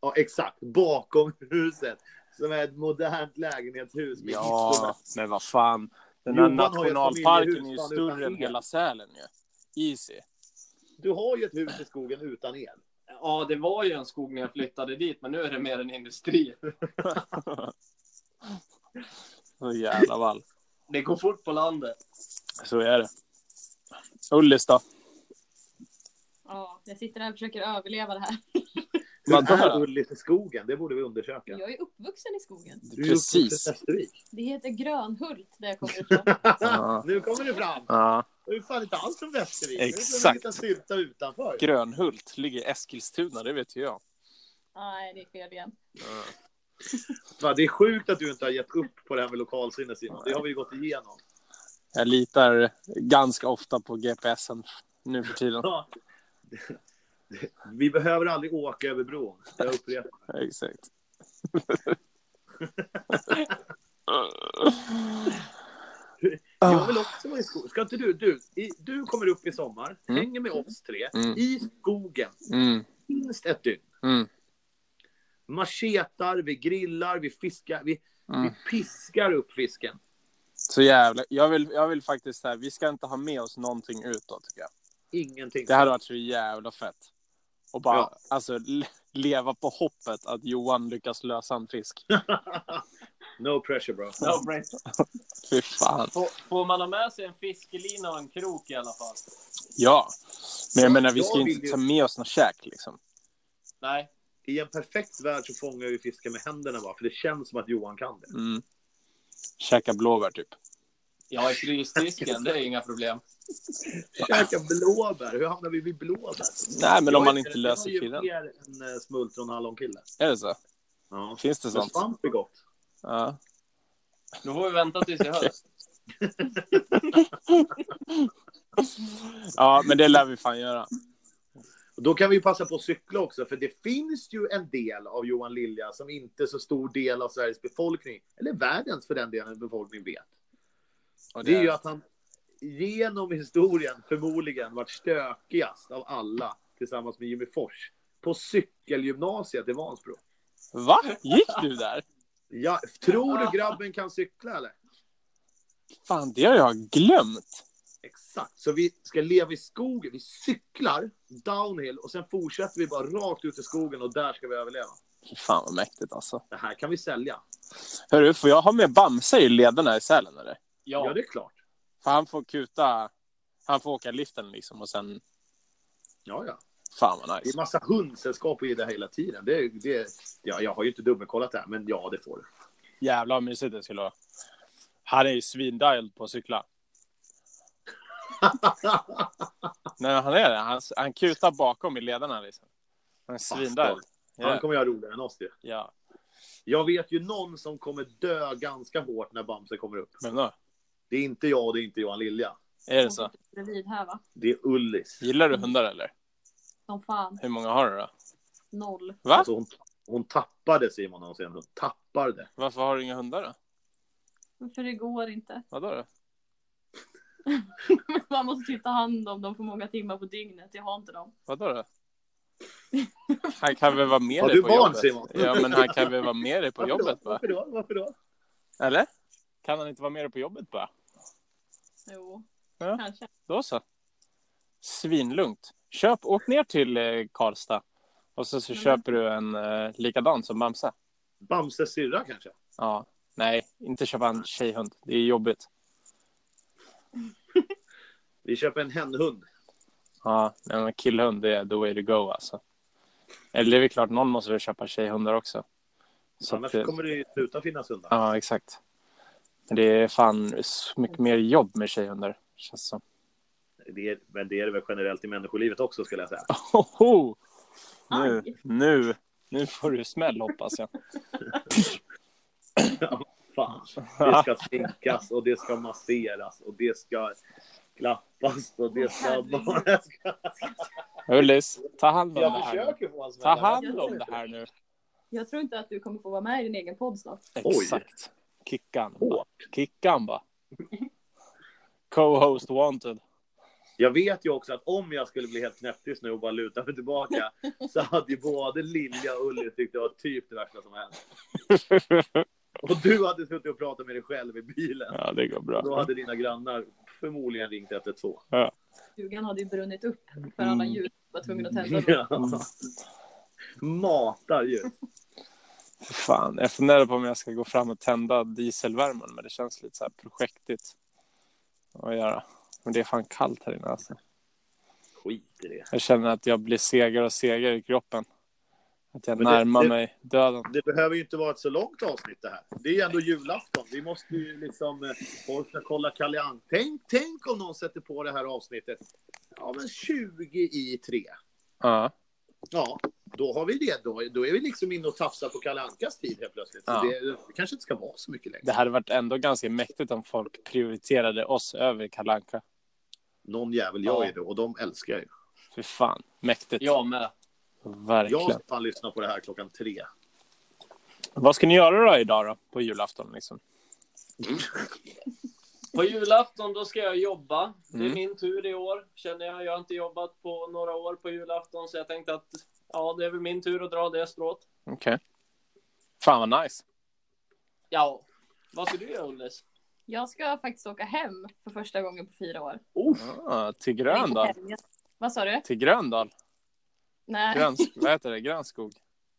A: Ja, exakt. Bakom huset. Som är ett modernt lägenhetshus. med
B: Ja,
A: hissar.
B: men vad fan. Den
A: Johan
B: där
A: har ju ett
B: nationalparken är ju
A: familjehus fan
B: större
A: utan
B: än
A: el.
B: hela Sälen ju. Easy.
A: Du har ju ett hus i skogen utan el.
C: Ja, det var ju en skog när jag flyttade dit, men nu är det mer en industri.
B: Så jävla vall.
C: Det går fort på landet.
B: Så är det. Ullis då?
D: Ja, jag sitter här och försöker överleva det här.
A: Hur
B: Vadå?
A: är Ullis i skogen? Det borde vi undersöka.
D: Jag är uppvuxen i skogen.
A: Du är
B: Precis.
A: uppvuxen i Västervik.
D: Det heter Grönhult där jag kommer ifrån.
B: Ja.
A: Nu kommer det fram.
B: Ja.
A: Du är fan inte alls från Västervik.
B: Exakt.
A: Du är från en liten sylta utanför.
B: Grönhult ligger i Eskilstuna, det vet ju jag.
D: Nej, det är fel igen.
A: Fan, Det är sjukt att du inte har gett upp på det här med lokalsinne, Simon. Det har vi ju gått igenom.
B: Jag litar ganska ofta på GPSen nu för tiden.
A: Ja. Vi behöver aldrig åka över bron. Jag upprepar.
B: Exakt. Ah.
A: Jag vill också vara i skogen. Ska inte du, du, i, du kommer upp i sommar,
B: Mm.
A: hänger med oss tre,
B: Mm.
A: i skogen,
B: Mm,
A: minst ett dygn.
B: mm,
A: Machetar, vi grillar, vi fiskar, vi,
B: mm.
A: vi piskar upp fisken.
B: Så jävla... Jag vill, jag vill faktiskt säga, vi ska inte ha med oss någonting utåt tycker jag.
A: Ingenting.
B: Det hade varit så jävla fett. Och bara
A: Ja.
B: alltså, le- leva på hoppet att Johan lyckas lösa en fisk.
A: No pressure bro.
C: No brain.
B: Fy fan.
C: Får, får man ha med sig en fiskelina och en krok i alla fall?
B: Ja. Men jag menar, vi
A: Jag
B: ska ju
A: vill
B: inte
A: ju-
B: ta med oss något käk liksom.
C: Nej.
A: I en perfekt värld så fångar vi fisken med händerna bara, för det känns som att Johan kan det.
B: Mm. Käka blåbär typ.
C: Jag har frysdisken, det är inga problem.
A: Käka blåbär, hur hamnar vi vid blåbär?
B: Nej, men om
A: Jag
B: man
A: är-
B: inte löser
A: Jag
B: killen.
A: är ju mer en eh, smultronhallonkille.
B: Är det så?
A: Ja.
B: Finns det
A: Men
B: sånt?
A: svamp är gott.
B: Ja.
C: Nu får vi vänta tills i höst.
B: ja, men det lär vi fan göra.
A: Och Då kan vi ju passa på att cykla också, för det finns ju en del av Johan Lilja som inte så stor del av Sveriges befolkning, eller världens för den delen befolkning vet.
B: Och
A: Det är ju att han genom historien förmodligen varit stökigast av alla tillsammans med Jimmy Fors på cykelgymnasiet i Vansbro.
B: Va? Gick du där?
A: Ja, tror du grabben kan cykla eller?
B: Fan, det har jag glömt.
A: Exakt. Så vi ska leva i skogen. Vi cyklar downhill och sen fortsätter vi bara rakt ut i skogen och där ska vi överleva.
B: Fy Fan vad mäktigt alltså.
A: Det här kan vi sälja.
B: Hörru, får jag ha med Bamse i lederna i Sälen eller?
A: Ja,
C: Ja,
A: det är klart.
B: För han får kuta, han får åka liften liksom och sen,
A: Ja, ja.
B: fan vad
A: Det är
B: nice.
A: massa hundsällskap i det hela tiden. Det, är- det, är- ja, jag har ju inte dubbelkollat det här, men ja, det får du.
B: Jävlar vad mysigt det skulle vara. Han är ju svindialed på att cykla. Nej, han är det. Han, han kutar bakom i lederna liksom. Han är svindialed.
A: Han
B: Ja,
A: kommer göra roligare än oss. Det.
B: ja.
A: Jag vet ju någon som kommer dö ganska hårt när Bamse kommer upp.
B: Men då,
A: Det är inte jag och det är inte Johan Lilja.
B: är det så?
D: Bredvid här va?
A: Det är Ullis.
B: Gillar du hundar eller?
D: Som fan.
B: Hur många har du då?
D: Noll.
B: Va?
A: Alltså hon, hon tappade Simon när hon ser en hund. Tappade.
B: Varför har du inga hundar då?
D: För det går inte.
B: Vadå då?
D: Man måste ju ta hand om dem för många timmar på dygnet. Jag har inte dem.
B: Vadå då? Han kan väl vara med
A: Har
B: dig
A: du
B: på
A: barn,
B: jobbet?
A: Simon?
B: Ja, men han kan väl vara med dig på
A: Varför
B: jobbet
A: då?
B: va?
A: Varför då? Varför då?
B: Eller? Kan han inte vara med dig på jobbet bara?
D: Jo.
B: Ja.
D: Kanske.
B: Då så. Svinlugnt. Köp, åk ner till eh, Karlstad. Och så, så
D: Mm.
B: köper du en eh, likadan som Bamse.
A: Bamses syrra kanske?
B: Ja. Nej, inte köpa en tjejhund. Det är jobbigt.
A: Vi köper en hennhund.
B: Ja, nej, men killhund det är the way to go alltså. Eller det är väl klart, någon måste väl köpa tjejhundar också. Så
A: Annars
B: att, eh,
A: kommer det ju sluta finnas hundar.
B: Ja, exakt. Men det är fan så mycket mer jobb med tjejhundar, känns som.
A: Det är, men det är det väl generellt i människolivet också skulle jag säga.
B: Hoho! Nu,
D: Aj.
B: nu, nu får du smäll hoppas jag.
A: Fan. Det ska stinkas och det ska masseras och det ska klappas och det ska...
D: Herregud.
B: Ullis, ta hand om det
A: Jag
B: här nu.
A: försöker få en
B: Ta
A: smäll.
B: hand om det här nu.
D: Jag tror inte att du kommer få vara med i din egen podd snart.
A: Oj.
B: Exakt. Kickan.
A: Hårt.
B: Kickan bara. Co-host wanted.
A: Jag vet ju också att om jag skulle bli helt knäpptyst nu och bara luta mig tillbaka så hade ju både Lilja och Ulli tyckt det var typ det värsta som hänt. Och du hade suttit och pratat med dig själv i bilen.
B: ja, det går
A: Då
B: bra.
A: hade dina grannar förmodligen ringt 112.
D: Stugan hade ju brunnit upp för alla
B: Mm.
D: ljus. Var tvungen att tända dem.
A: Ja. Matar ju.
B: Fan, jag funderar på om jag ska gå fram och tända dieselvärmen, men det känns lite så här projektigt att göra. Men det är fan kallt här inne alltså.
A: Skit i det.
B: Jag känner att jag blir segare och segare i kroppen. Att jag
A: Men det-
B: närmar
A: det-
B: mig döden.
A: Det behöver ju inte vara ett så långt avsnitt det här. Det är ju ändå julafton. Vi måste ju liksom... eh, Folk ska kolla Kalle Anka. Tänk, tänk om någon sätter på det här avsnittet. Ja, men 20 i tre.
B: Ja,
A: Ja, då har vi det. Då, då är vi liksom inne och tafsar på Kalle Ankas tid helt plötsligt. Så
B: Ja.
A: det, det kanske inte ska vara så mycket längre.
B: det hade varit ändå ganska mäktigt om folk prioriterade oss över Kalle Anka.
A: Någon jävel jag
C: Ja.
A: är det och de älskar jag ju.
B: Fy fan, mäktigt.
C: jag med.
B: Verkligen.
A: Jag ska fan lyssna på det här klockan tre.
B: Vad ska ni göra då idag då, på julafton? Liksom?
C: På julafton då ska jag jobba. Det är
B: Mm.
C: min tur i år, känner jag. Jag har inte jobbat på några år på julafton, så jag tänkte att ja, det är väl min tur att dra det strået.
B: Okej. Fan vad nice.
C: Ja. Vad ska du göra, Ullis?
D: Jag ska faktiskt åka hem för första gången på fyra år.
B: Ah, till
D: Eller inte
B: Gröndal.
D: hem, jag- Vad sa du?
B: Till Gröndal.
D: Nej.
B: Gröns... Vad heter det? Grönskog.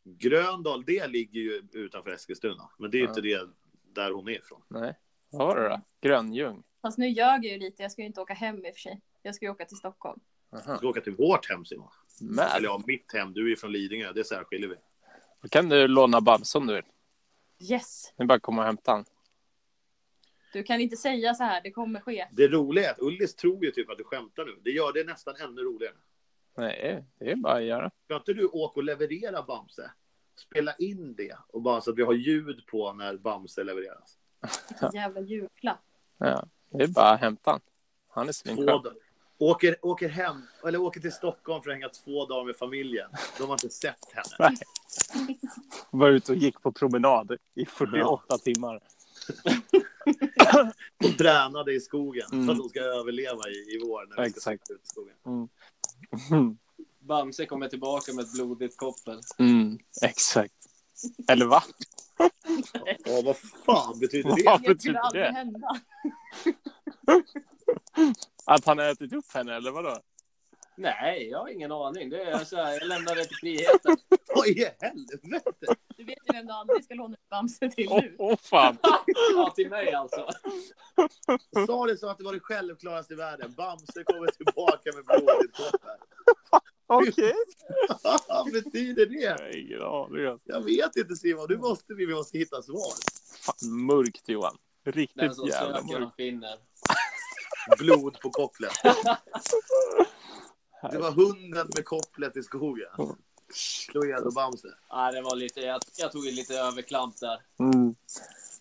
A: Gröndal, det ligger ju utanför Eskilstuna. Men det är ju
B: Ja.
A: inte det där hon är ifrån.
B: Nej. Vad var det då? Grönljung.
D: Fast nu ljög jag ju lite. Jag ska ju inte åka hem i och för sig. Jag ska ju åka till Stockholm.
A: Du
B: Aha.
A: ska åka till vårt hem Simon. Eller
B: Men,
A: ja, mitt hem. Du är ju från Lidingö. Det särskiljer vi.
B: då kan du låna Babs om du vill.
D: Yes!
B: Det är bara att komma och hämta han.
D: Du kan inte säga så här. Det kommer ske.
A: Det roliga är att Ullis tror ju typ att du skämtar nu. Det gör det nästan ännu roligare.
B: Nej, det är bara att göra.
A: Ska inte du åka och leverera Bamse? Spela in det och bara så att vi har ljud på när Bamse levereras.
D: Vilken jävla julklapp.
B: Ja. Det är bara att hämta han. Han är
A: två
B: svinskön.
A: dagar. Åker, åker hem, eller åker till Stockholm för att hänga två dagar med familjen. De har inte sett henne.
B: Var ute och gick på promenad i 48 timmar.
A: Och tränade i skogen
B: Mm.
A: för att de ska överleva i, i vår. När vi ska
B: Exakt.
A: släppa ut skogen.
C: Bamse kommer tillbaka med ett blodigt koppel.
B: Mm, exakt. Eller va?
A: Ja, vad fan betyder det?
B: Vad
D: Det
B: betyder
D: skulle aldrig
B: det?
D: hända.
B: Att han har ätit upp henne eller vadå?
C: Nej, jag har ingen aning. Det är så här, jag lämnar det till friheten.
A: Vad i helvete?
D: Du vet ju vem du aldrig ska låna ut Bamse till
B: Åh
D: nu.
B: åh, fan!
C: Ja, till mig alltså.
A: Sa det som att det var det självklaraste i världen. Bamse kommer tillbaka med blodet toppen.
B: Okej!
A: Vad betyder det?
B: Jag har ingen aning. alltså.
A: Jag vet inte Simon, nu måste vi, vi måste hitta svar.
B: Fan, mörkt Johan.
C: Den
B: Riktigt
C: som
B: jävla
C: söker
B: mörkt.
C: och finner.
A: Blod på kopplet. Det var hunden med kopplet i skogen. Cluedo Bamse.
C: Nej, det var lite, jag, jag tog en lite överklamp där.
B: Mm.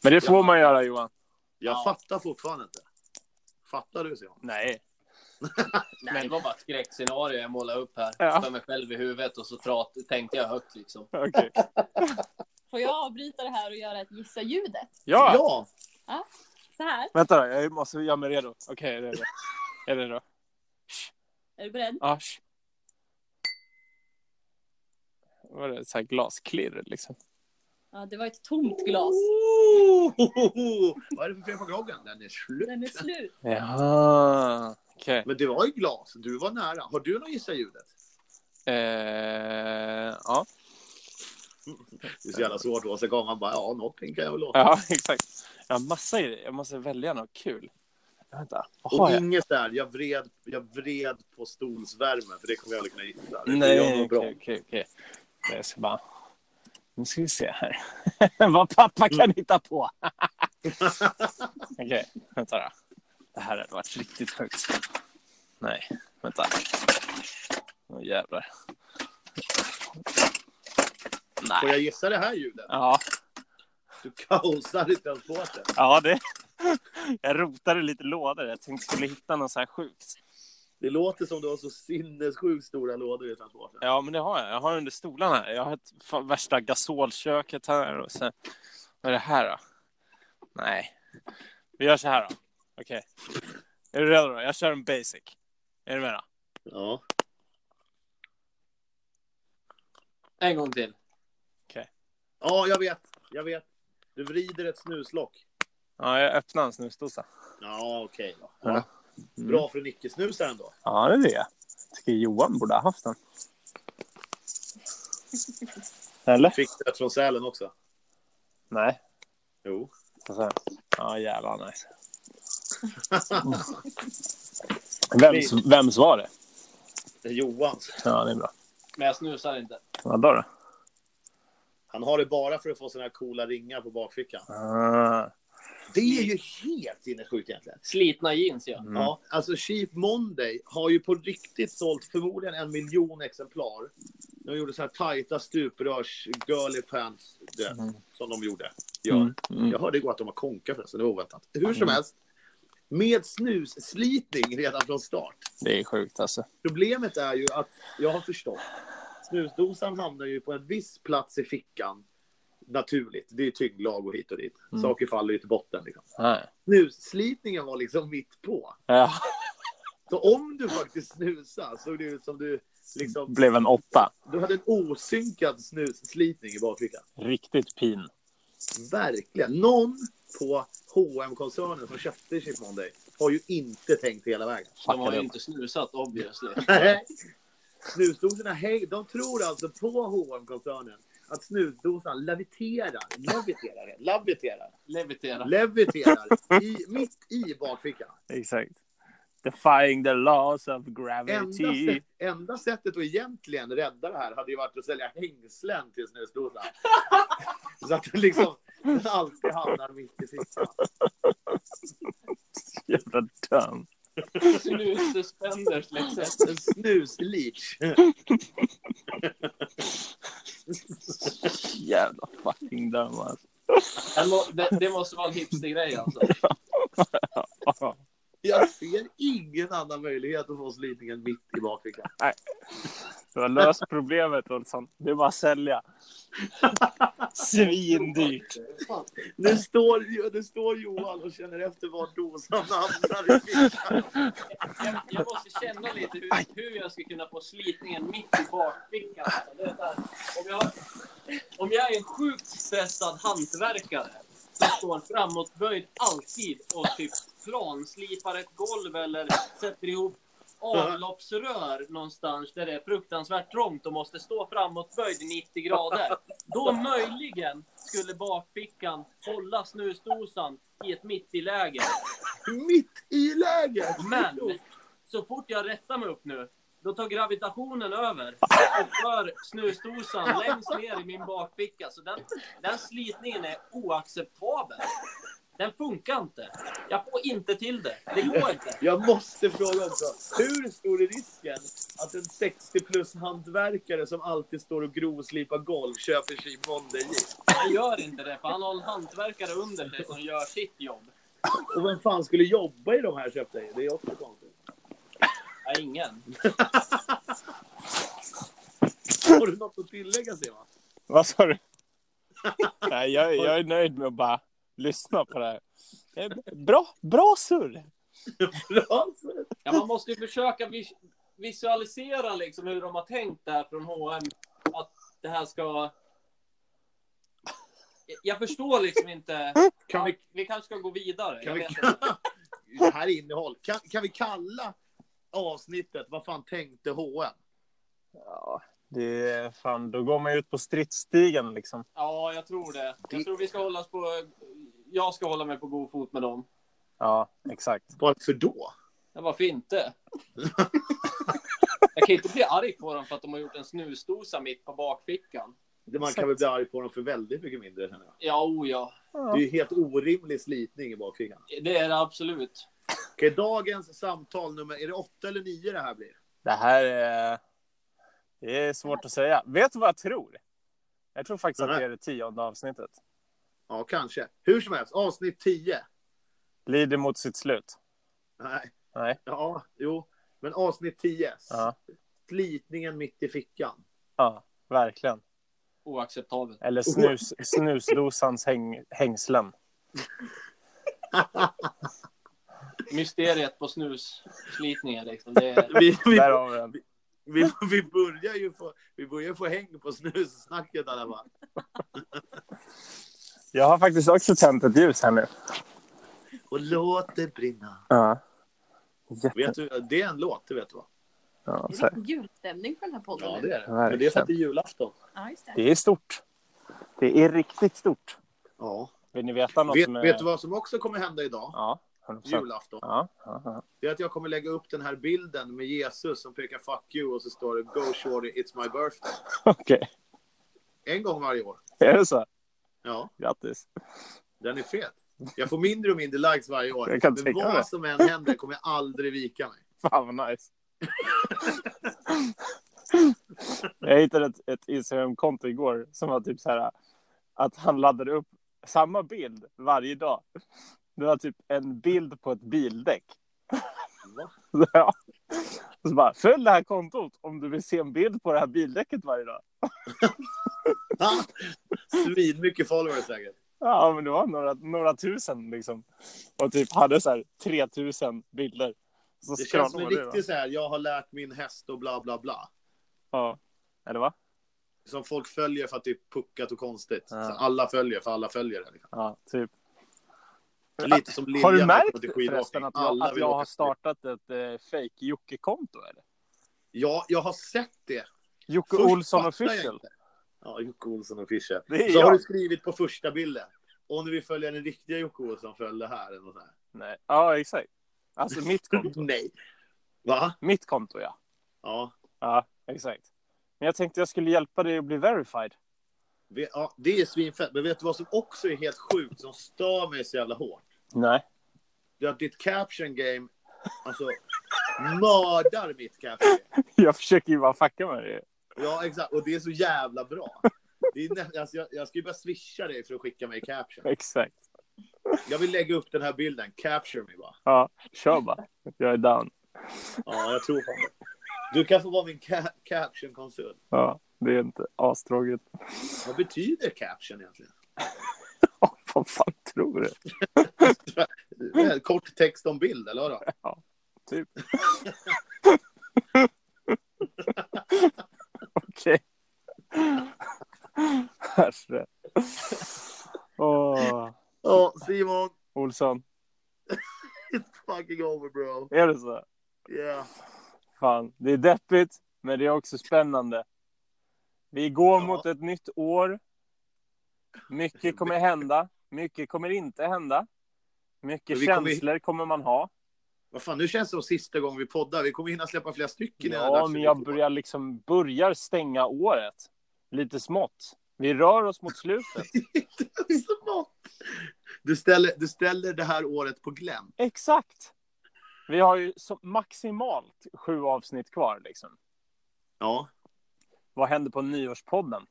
B: Men det får man göra Johan.
A: Jag
C: Ja.
A: fattar fortfarande inte. Fattar du Simon?
B: Nej.
C: Nej, det var bara ett skräckscenario jag målade upp här
B: Ja.
C: för mig själv i huvudet och så prat, tänkte jag högt liksom.
B: Okej.
D: Får jag avbryta det här och göra ett gissa-ljudet?
B: Ja.
A: Ja!
D: Så här,
B: Vänta då, jag måste göra mig redo. Okej, är det då? Är det då?
D: är du beredd?
B: Ja. sh- Var det så här glasklirr liksom?
D: Ja, det var ett tomt glas.
A: Oh! Vad är det för fel på groggen? Den är slut.
D: Den är slut.
B: Jaha. Okej.
A: Men det var ju glas. Du var nära. Har du något gissa ljudet?
B: Eh, ja.
A: Det är så jävla svårt. Åsa gång. Han bara, ja, någonting kan jag väl låta.
B: ja, exakt. Jag har massa grejer. Jag måste välja något kul. Vänta. Vad
A: Och
B: har jag?
A: inget där. Jag vred, jag vred på stolsvärmen, för det kommer jag aldrig kunna gissa. Mm, Det gör
B: Nej,
A: nog bra.
B: okej, okej, okej. Nej, Jag ska bara... Nu ska vi se här. Vad pappa kan
A: Mm.
B: hitta på. okej, vänta då. Det här hade varit riktigt sjukt. Nej, vänta. Åh jävlar.
A: Får
B: Nej.
A: jag gissa det här ljudet?
B: Ja,
A: Du kaosar i transporten.
B: ja det... Jag rotade lite lådor. Jag tänkte skulle hitta något så här sjukt.
A: Det låter som du har så sinnessjukt stora lådor i transporten.
B: Ja, men det har jag. Jag har under stolarna. här. Jag har ett fa- värsta gasolköket här och sen... Vad är det här då? Nej. Vi gör så här då. Okej. Är du redo då? Jag kör en basic. Är du med då?
A: Ja.
C: En gång till.
A: Ja, jag vet. Jag vet. Du vrider ett snuslock.
B: Ja, jag öppnar en snusdosa.
A: Ja, okej då.
B: Ja.
A: Ja. Mm. Bra för en icke-snusaren då.
B: Ja, det är det. Jag tycker Johan borde ha haft den. Eller?
A: Fick det från Sälen också.
B: Nej.
A: Jo.
B: Alltså, ja, jävlar nice. Vems, vems var det?
A: Det är Johans.
B: Ja, det är bra.
C: Men jag snusar inte.
B: Vad då? då?
A: Han har det bara för att få såna här coola ringar på bakfickan.
B: Ah,
A: Det är ju helt sinnessjukt egentligen.
C: Slitna jeans ja.
B: Mm.
A: Ja, alltså Cheap Monday har ju på riktigt sålt förmodligen en miljon exemplar. De gjorde så här tajta stuprörs girly pants det,
B: Mm.
A: som de gjorde. Ja.
B: Mm, mm.
A: Jag hörde igår att de har konka förresten, det var oväntat. Hur som
B: Mm.
A: helst, med snusslitning redan från start.
B: Det är sjukt alltså.
A: Problemet är ju att jag har förstått. Snusdosan hamnar ju på en viss plats i fickan. Naturligt, det är tyngdlag och hit och dit.
B: Mm.
A: Saker faller ju till botten. Liksom.
B: Nej.
A: Snusslitningen var liksom mitt på.
B: Ja,
A: Så om du faktiskt snusar såg det ut som du liksom,
B: blev en åtta.
A: du hade en osynkad snusslitning i bakfickan.
B: Riktigt pin.
A: Verkligen. Någon på hm koncernen som köpte Chip Monday har ju inte tänkt hela vägen.
C: De har
B: Fuckade
C: ju
B: upp.
C: inte snusat obviously.
A: Snusdosorna, hej, de tror alltså på hm koncernen att snusdosan leviterar, leviterar, leviterar,
C: Levitera.
A: leviterar i, mitt i bakfickan.
B: Exakt. Defying the laws of
A: Enda,
B: gravity.
A: sätt, enda sättet att egentligen rädda det här hade ju varit att sälja hängslen till snusdosan. Så att den liksom den alltid hamnar mitt i fickan.
B: Jävla dum.
C: Snussuspenders liksom.
A: En snusleach.
B: Jävla fucking dum alltså.
C: Den må- Det, det måste vara en hipstergrej alltså.
A: Jag ser ingen annan möjlighet att få slitningen mitt i bakfickan.
B: Du har löst problemet Olsson. Det är bara att sälja. Svindyrt.
A: Nu står, nu står Johan och känner efter var dosan hamnar i fickan.
C: Jag, jag måste känna lite hur, hur jag ska kunna få slitningen mitt i bakfickan. Alltså. Det är så här, om, jag, om jag är en sjukt stressad hantverkare så står framåtböjd alltid och typ kran, slipar ett golv eller sätter ihop avloppsrör någonstans där det är fruktansvärt trångt och måste stå framåtböjd i 90 grader. Då möjligen skulle bakfickan hålla snusdosan i ett mittiläge.
A: Mitt i läget!
C: Men så fort jag rättar mig upp nu, då tar gravitationen över och för snusdosan längst ner i min bakficka. Så den, den slitningen är oacceptabel. Den funkar inte. Jag får inte till det. Det går inte.
A: Jag måste fråga också. Hur stor är risken att en 60 plus hantverkare som alltid står och grovslipar golv köper sig Monday-jeans?
C: Han gör inte det, för han har en hantverkare under sig som gör sitt jobb.
A: Och vem fan skulle jobba i de här köpta jeans? Det är också konstigt.
C: Nej, ingen.
A: Har du något att tillägga, Simon?
B: Vad sa du? Nej, jag, jag är nöjd med att bara lyssna på det här. Det är Bra, bra surr!
A: Bra,
C: Ja, man måste ju försöka vis- visualisera liksom hur de har tänkt där från H&M att det här ska... Jag förstår liksom inte.
A: Kan vi-
C: vi kanske ska gå vidare.
A: Kan
C: jag
A: vi,
C: vet inte.
A: det här är innehåll. Kan, kan vi kalla avsnittet Vad fan tänkte H&M?
B: Ja, det är, fan, då går man ju ut på stridsstigen liksom.
C: Ja, jag tror det. Jag tror vi ska hålla oss på... Jag ska hålla mig på god fot med dem.
B: Ja, exakt.
A: Varför då?
C: Ja, varför inte? Jag kan inte bli arg på dem för att de har gjort en snusdosa mitt på bakfickan.
A: Man kan väl bli arg på dem för väldigt mycket mindre, känner jag.
C: Ja, o ja.
A: Det är ju helt orimlig slitning i bakfickan.
C: Det är det absolut.
A: Okej, dagens samtal nummer... Är det åtta eller nio det här blir?
B: Det här är... Det är svårt att säga. Vet du vad jag tror? Jag tror faktiskt att det är det tionde avsnittet.
A: Ja, kanske. Hur som helst, avsnitt 10.
B: Lider mot sitt slut.
A: Nej.
B: Nej.
A: Ja, jo. Men avsnitt 10.
B: Ja,
A: Slitningen mitt i fickan.
B: ja verkligen.
C: Oacceptabelt.
B: Eller snus, snusdosans häng, hängslen.
C: Mysteriet på snusslitningen liksom. Det är...
A: Vi, vi,
B: Där har vi den.
A: vi, vi börjar ju få, vi börjar få häng på snussnacket i alla fall.
B: Jag har faktiskt också tänt ett ljus här nu.
A: Och låt det brinna.
B: Ja. Jätte...
A: Vet du, det är en låt, du vet va?
B: Ja,
D: Det
B: så
D: är
B: här.
D: lite julstämning på den här podden. nu.
A: är
B: Men det är för att
A: det är julafton.
D: Ja, just det.
B: det är stort. Det är riktigt stort.
A: Ja.
B: Vill ni veta något
A: Vet,
B: som är...
A: vet du vad som också kommer hända idag?
B: Ja, 100%.
A: Julafton.
B: Ja, ja, ja.
A: Det är att jag kommer lägga upp den här bilden med Jesus som pekar 'fuck you' och så står det 'Go shorty, it's my birthday'
B: Okej,
A: En gång varje år.
B: är det så?
A: Ja,
B: Grattis.
A: den är fet. Jag får mindre och mindre likes varje år.
B: Jag kan
A: Men
B: tänka
A: vad
B: mig.
A: som än händer kommer jag aldrig vika mig.
B: Fan vad nice. Jag hittade ett, ett Instagram-konto igår som var typ så här att han laddade upp samma bild varje dag. Det var typ en bild på ett bildäck.
A: Va?
B: Ja. Och så bara, följ det här kontot om du vill se en bild på det här bildäcket varje dag.
A: Ha! Svinmycket mycket followers säkert.
B: Ja, men det var några, några tusen liksom. Och typ hade så här 3000 bilder. Så
A: Det känns som en
B: scrollade man det, va?
A: riktig så här, jag har lärt min häst och bla bla bla.
B: Ja. Eller va?
A: Som folk följer för att det är puckat och konstigt.
B: Ja.
A: Så alla följer för alla följer det. Liksom.
B: Ja, typ.
A: Lite som Lilja
B: Har
A: när
B: du
A: hon går till
B: märkt
A: skidåkning.
B: förresten att jag,
A: Alla
B: att
A: vill
B: jag
A: åka
B: har
A: skid-
B: startat ett eh, fake Jocke-konto? eller?
A: Ja, jag har sett det.
B: Jocke
A: Först
B: Olsson
A: fattar jag
B: official.
A: inte. Ja, Jocke Olsson official.
B: Det är
A: Så
B: jag.
A: har du skrivit på första bilden. Och nu vill följa den riktiga Jocke Olsson, följ det här. Eller något sånt
B: Nej. Ja, exakt. Alltså mitt
A: här.
B: konto.
A: Nej. Va?
B: mitt konto, ja.
A: Ja.
B: Ja, exakt. Men jag tänkte jag skulle hjälpa dig att bli verified.
A: Vi- ja. Det är svinfett. Men vet du vad som också är helt sjukt, som stör mig så jävla hårt?
B: Nej.
A: Det är att ditt caption game, alltså, mördar mitt caption game.
B: Jag försöker ju bara fucka med dig.
A: Ja, exakt. Och det är så jävla bra. Det är nä- alltså, jag, jag ska ju bara swisha dig för att skicka mig caption.
B: Exakt.
A: Jag vill lägga upp den här bilden. Capture me bara.
B: Ja, kör bara. Jag är down.
A: Ja, jag tror på det. Du kan få vara min ca- caption-konsult.
B: Ja, det är inte astråkigt.
A: Vad betyder caption egentligen?
B: Ja, vad fan tror du?
A: Eh, Kort text om bild, eller vadå?
B: Typ. Okej. Herre. Åh,
A: Ja, Simon.
B: Olsson.
A: It's fucking over bro.
B: Är det så?
A: Yeah.
B: Fan, det är deppigt, men det är också spännande. Vi går
A: Ja.
B: mot ett nytt år. Mycket kommer hända. Mycket kommer inte hända. Mycket
A: Men vi kommer-
B: känslor kommer man ha.
A: Vad fan, nu känns det som sista gången vi poddar. Vi kommer hinna släppa flera stycken. innan det är
B: Ja,
A: dags för
B: men jag
A: nytt år.
B: börjar liksom börjar stänga året. Lite smått. Vi rör oss mot slutet.
A: Det är så mått. Du ställer, du ställer det här året på glänt.
B: Exakt. Vi har ju så maximalt sju avsnitt kvar. Liksom.
A: Ja.
B: Vad händer på nyårspodden?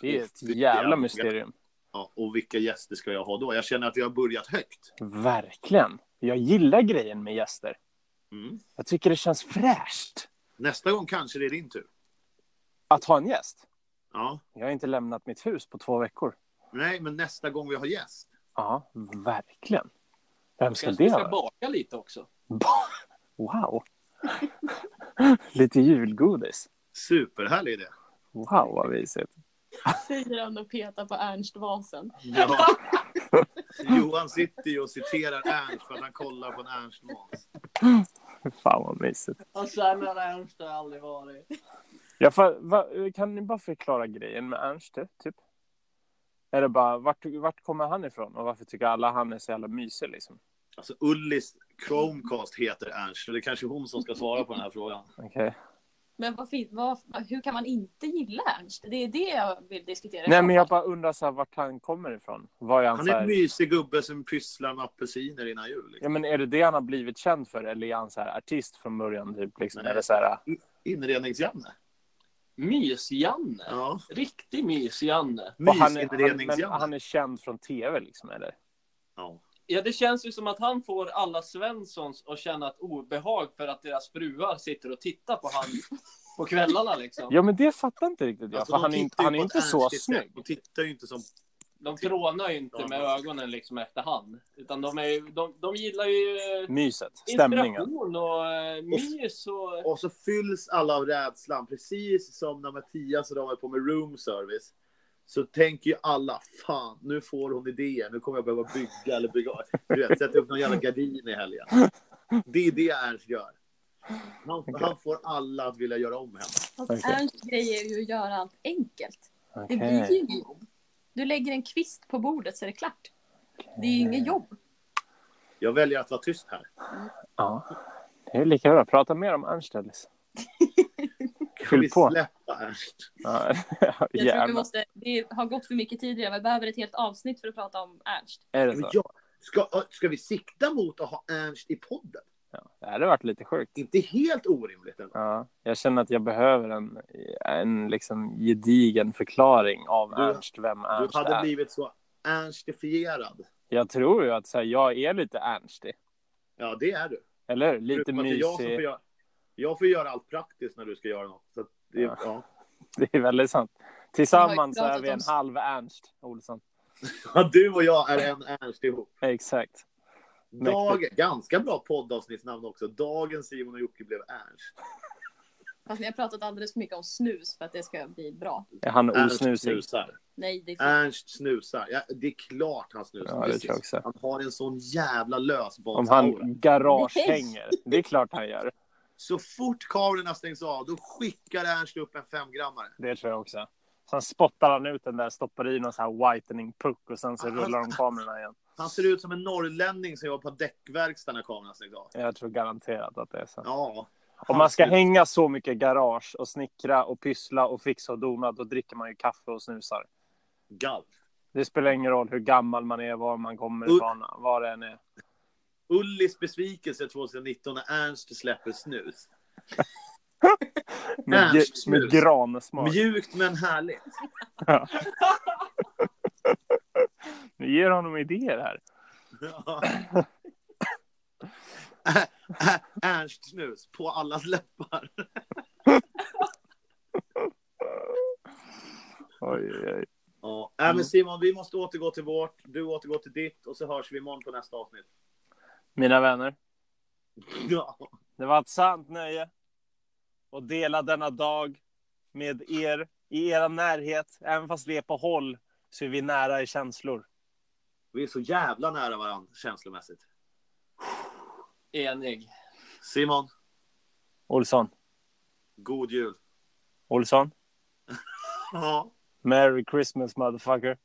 B: Det är ett
A: Det är
B: jävla
A: jävla-
B: mysterium.
A: ja. Och vilka gäster ska jag ha då? Jag känner att jag har börjat högt.
B: Verkligen. Jag gillar grejen med gäster.
A: Mm.
B: Jag tycker det känns fräscht
A: Nästa gång kanske det är din tur.
B: att ha en gäst.
A: Ja.
B: Jag har inte lämnat mitt hus på två veckor.
A: Nej, men nästa gång vi har gäst.
B: Ja, verkligen. Vem ska
C: Kanske
B: det
C: vi ska
B: vara?
C: baka lite också.
B: Wow. Lite julgodis.
A: Superhärlig idé.
B: Wow, vad mysigt.
D: Säger han och petar på Ernst Vasen.
A: Ja. Johan sitter ju och citerar Ernst för att han kollar på en Ernst Mas.
B: Fan, vad mysigt.
C: Och sen har Ernst aldrig varit.
B: Jag får- va, kan ni bara förklara grejen med Ernst, typ? Är det bara, vart, vart kommer han ifrån och varför tycker alla han är så jävla mysig liksom?
A: Alltså Ullis Chromecast heter Ernst, så det är kanske är hon som ska svara på den här frågan.
B: Okej.
D: Men vad fin- vad, hur kan man inte gilla Ernst? Det är det jag vill diskutera. i
B: Nej,
D: så
B: men jag
D: fall.
B: bara undrar så här, vart han kommer ifrån. Vad är han,
A: Han
B: så
A: är
B: här,
A: en mysig gubbe som pysslar med apelsiner innan jul.
B: Ja,
A: Liksom.
B: men är det det han har blivit känd för eller är han så här artist från början typ? Liksom?
A: Nej.
B: Är det så här,
A: Inrednings-Janne.
C: Mys-Janne.
A: Ja.
C: Riktig mys-Janne.
B: och han, är, han, men
A: Mysinrednings-Janne.
B: han är känd från tv liksom, eller?
A: Ja.
C: Ja, det känns ju som att han får alla Svenssons att känna ett obehag för att deras fruar sitter och tittar på han på kvällarna liksom.
B: Ja, men det fattar inte riktigt jag,
A: Alltså,
B: för
A: de
B: han är inte,
A: tittar ju
B: han är
A: på
B: inte
A: ett
B: så
A: ärligt sätt.
B: snygg.
A: De tittar ju inte som...
C: De trånar ju inte med ögonen liksom efter han. Utan de, är, ju- de, de gillar ju eh,
B: Myset, stämningen.
C: inspiration och eh, mys och...
A: Och så fylls alla av rädslan, precis som när Mattias och de höll på med room service. Så tänker ju alla, fan, nu får hon idéer, nu kommer jag behöva bygga eller bygga. Du vet, sätta upp någon jävla gardin i helgen. Det är det Ernst gör. Han, han får alla att vilja göra om henne.
D: Fast
B: Okej.
D: Ernsts grej är ju att göra allt enkelt. Det blir ju
B: Okej.
D: inget jobb. Du lägger en kvist på bordet så är det klart. Det är ju
B: Mm.
D: inget jobb.
A: Jag väljer att vara tyst här.
B: Ja. Det är lika bra. Prata mer om Ernst, Ellis.
A: Kan vi
B: Fyll på.
A: släppa Ernst?
B: Ja,
D: Jag tror vi
B: jävlar.
D: måste, det har gått för mycket tid redan. Vi behöver ett helt avsnitt för att prata om Ernst.
B: Är det
A: Men
B: så?
A: ja, ska, ska vi sikta mot att ha Ernst i podden?
B: Ja. Det hade varit lite sjukt.
A: Inte helt orimligt ändå.
B: Ja. Jag känner att jag behöver en, en liksom gedigen förklaring av
A: Du-
B: Ernst, vem
A: Du
B: Ernst
A: hade
B: är.
A: blivit så ernstifierad.
B: Jag tror ju att så här, jag är lite ernstig.
A: Ja, det är du.
B: Eller hur? Lite
A: Förutom att det är Alltså, jag som får
B: mysig.
A: göra- Jag får göra allt praktiskt när du ska göra något. Så att det,
B: Ja.
A: ja.
B: Det är väldigt sant. Tillsammans
D: Vi har ju
B: är vi en
D: pratat om-
B: halv Ernst, Olsson.
A: Ja, du och jag är en Ernst ihop.
B: Exakt. Mäktigt.
A: Dag, ganska bra poddavsnittsnamn också. Dagens Simon och Jocke blev Ernst.
D: Fast ni har pratat alldeles för mycket om snus för att det ska bli bra.
B: Är han
A: Ernst
B: osnusig?
A: snusar.
D: Nej, det är fel.
A: Ernst snusar. Ja, det är klart han snusar.
B: Ja, det
A: Precis.
B: tror jag också.
A: Han har en sån jävla
B: Om
A: lösbadsaura.
B: han garagehänger. Det är klart han gör.
A: Så fort kamerorna stängs av, då skickar Ernst upp en femgrammare.
B: Det tror jag också. Sen spottar han ut den där, stoppar i någon så här whitening puck och sen så rullar de kamerorna igen.
A: Han ser ut som en norrlänning som jobbar på däckverkstad när kamerorna stängs av.
B: Jag tror garanterat att det är så.
A: Ja.
B: Om man ska hänga så mycket garage och snickra och pyssla och fixa och dona, då dricker man ju kaffe och snusar.
A: Gall.
B: Det spelar ingen roll hur gammal man är, var man kommer ifrån, vad det än är.
A: Ullis besvikelse 2019 när Ernst släpper snus.
B: Med,
A: Ernst
B: ge- med
A: snus.
B: gransmak.
A: Mjukt men härligt.
B: Nu ger honom idéer här.
A: Ja. Ä- Ä- Ernst snus på allas läppar.
B: Oj, oj, oj.
A: Ja. Äh, men Simon, vi måste återgå till vårt. Du återgår till ditt och så hörs vi imorgon på nästa avsnitt.
B: Mina vänner,
A: Ja.
B: det var ett sant nöje att dela denna dag med er i era närhet. Även fast vi är på håll så är vi nära i känslor.
A: Vi är så jävla nära varandra känslomässigt.
C: Enig.
A: Simon,
B: Olsson.
A: god jul.
B: Olsson.
A: Ja.
B: Merry Christmas motherfucker.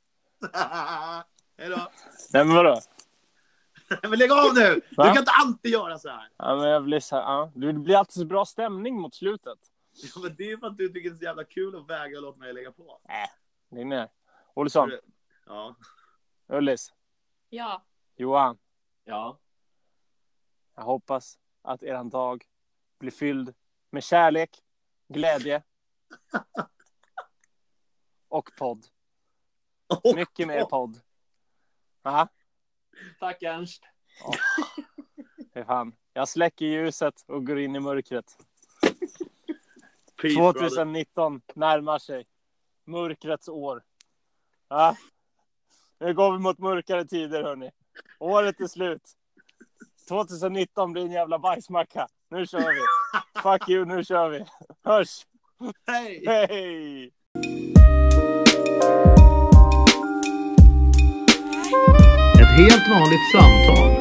A: Hej då.
B: Nej men vadå?
A: Men lägg av nu! Du
B: Va?
A: kan inte alltid göra så här.
B: Ja, men jag blir så här, ja. Det blir alltid så bra stämning mot slutet.
A: Ja, men det är för att du tycker det är så jävla kul att vägra låta mig lägga på.
B: Det är ner. Olsson.
A: Ja.
B: Ullis.
D: Ja.
B: Johan.
C: Ja.
B: Jag hoppas att eran dag blir fylld med kärlek, glädje och podd.
A: Och
B: Mycket mer podd. Aha,
C: Tack Ernst.
B: det fan. Jag släcker ljuset och går in i mörkret.
A: Peace, brother.
B: 2019 närmar sig. Mörkrets år. Ja. Nu går vi mot mörkare tider, hörni. Året är slut. 2019 blir en jävla bajsmacka. Nu kör vi. Fuck you, nu kör vi. Hörs!
A: Hej!
B: Hej!
A: Ett helt vanligt samtal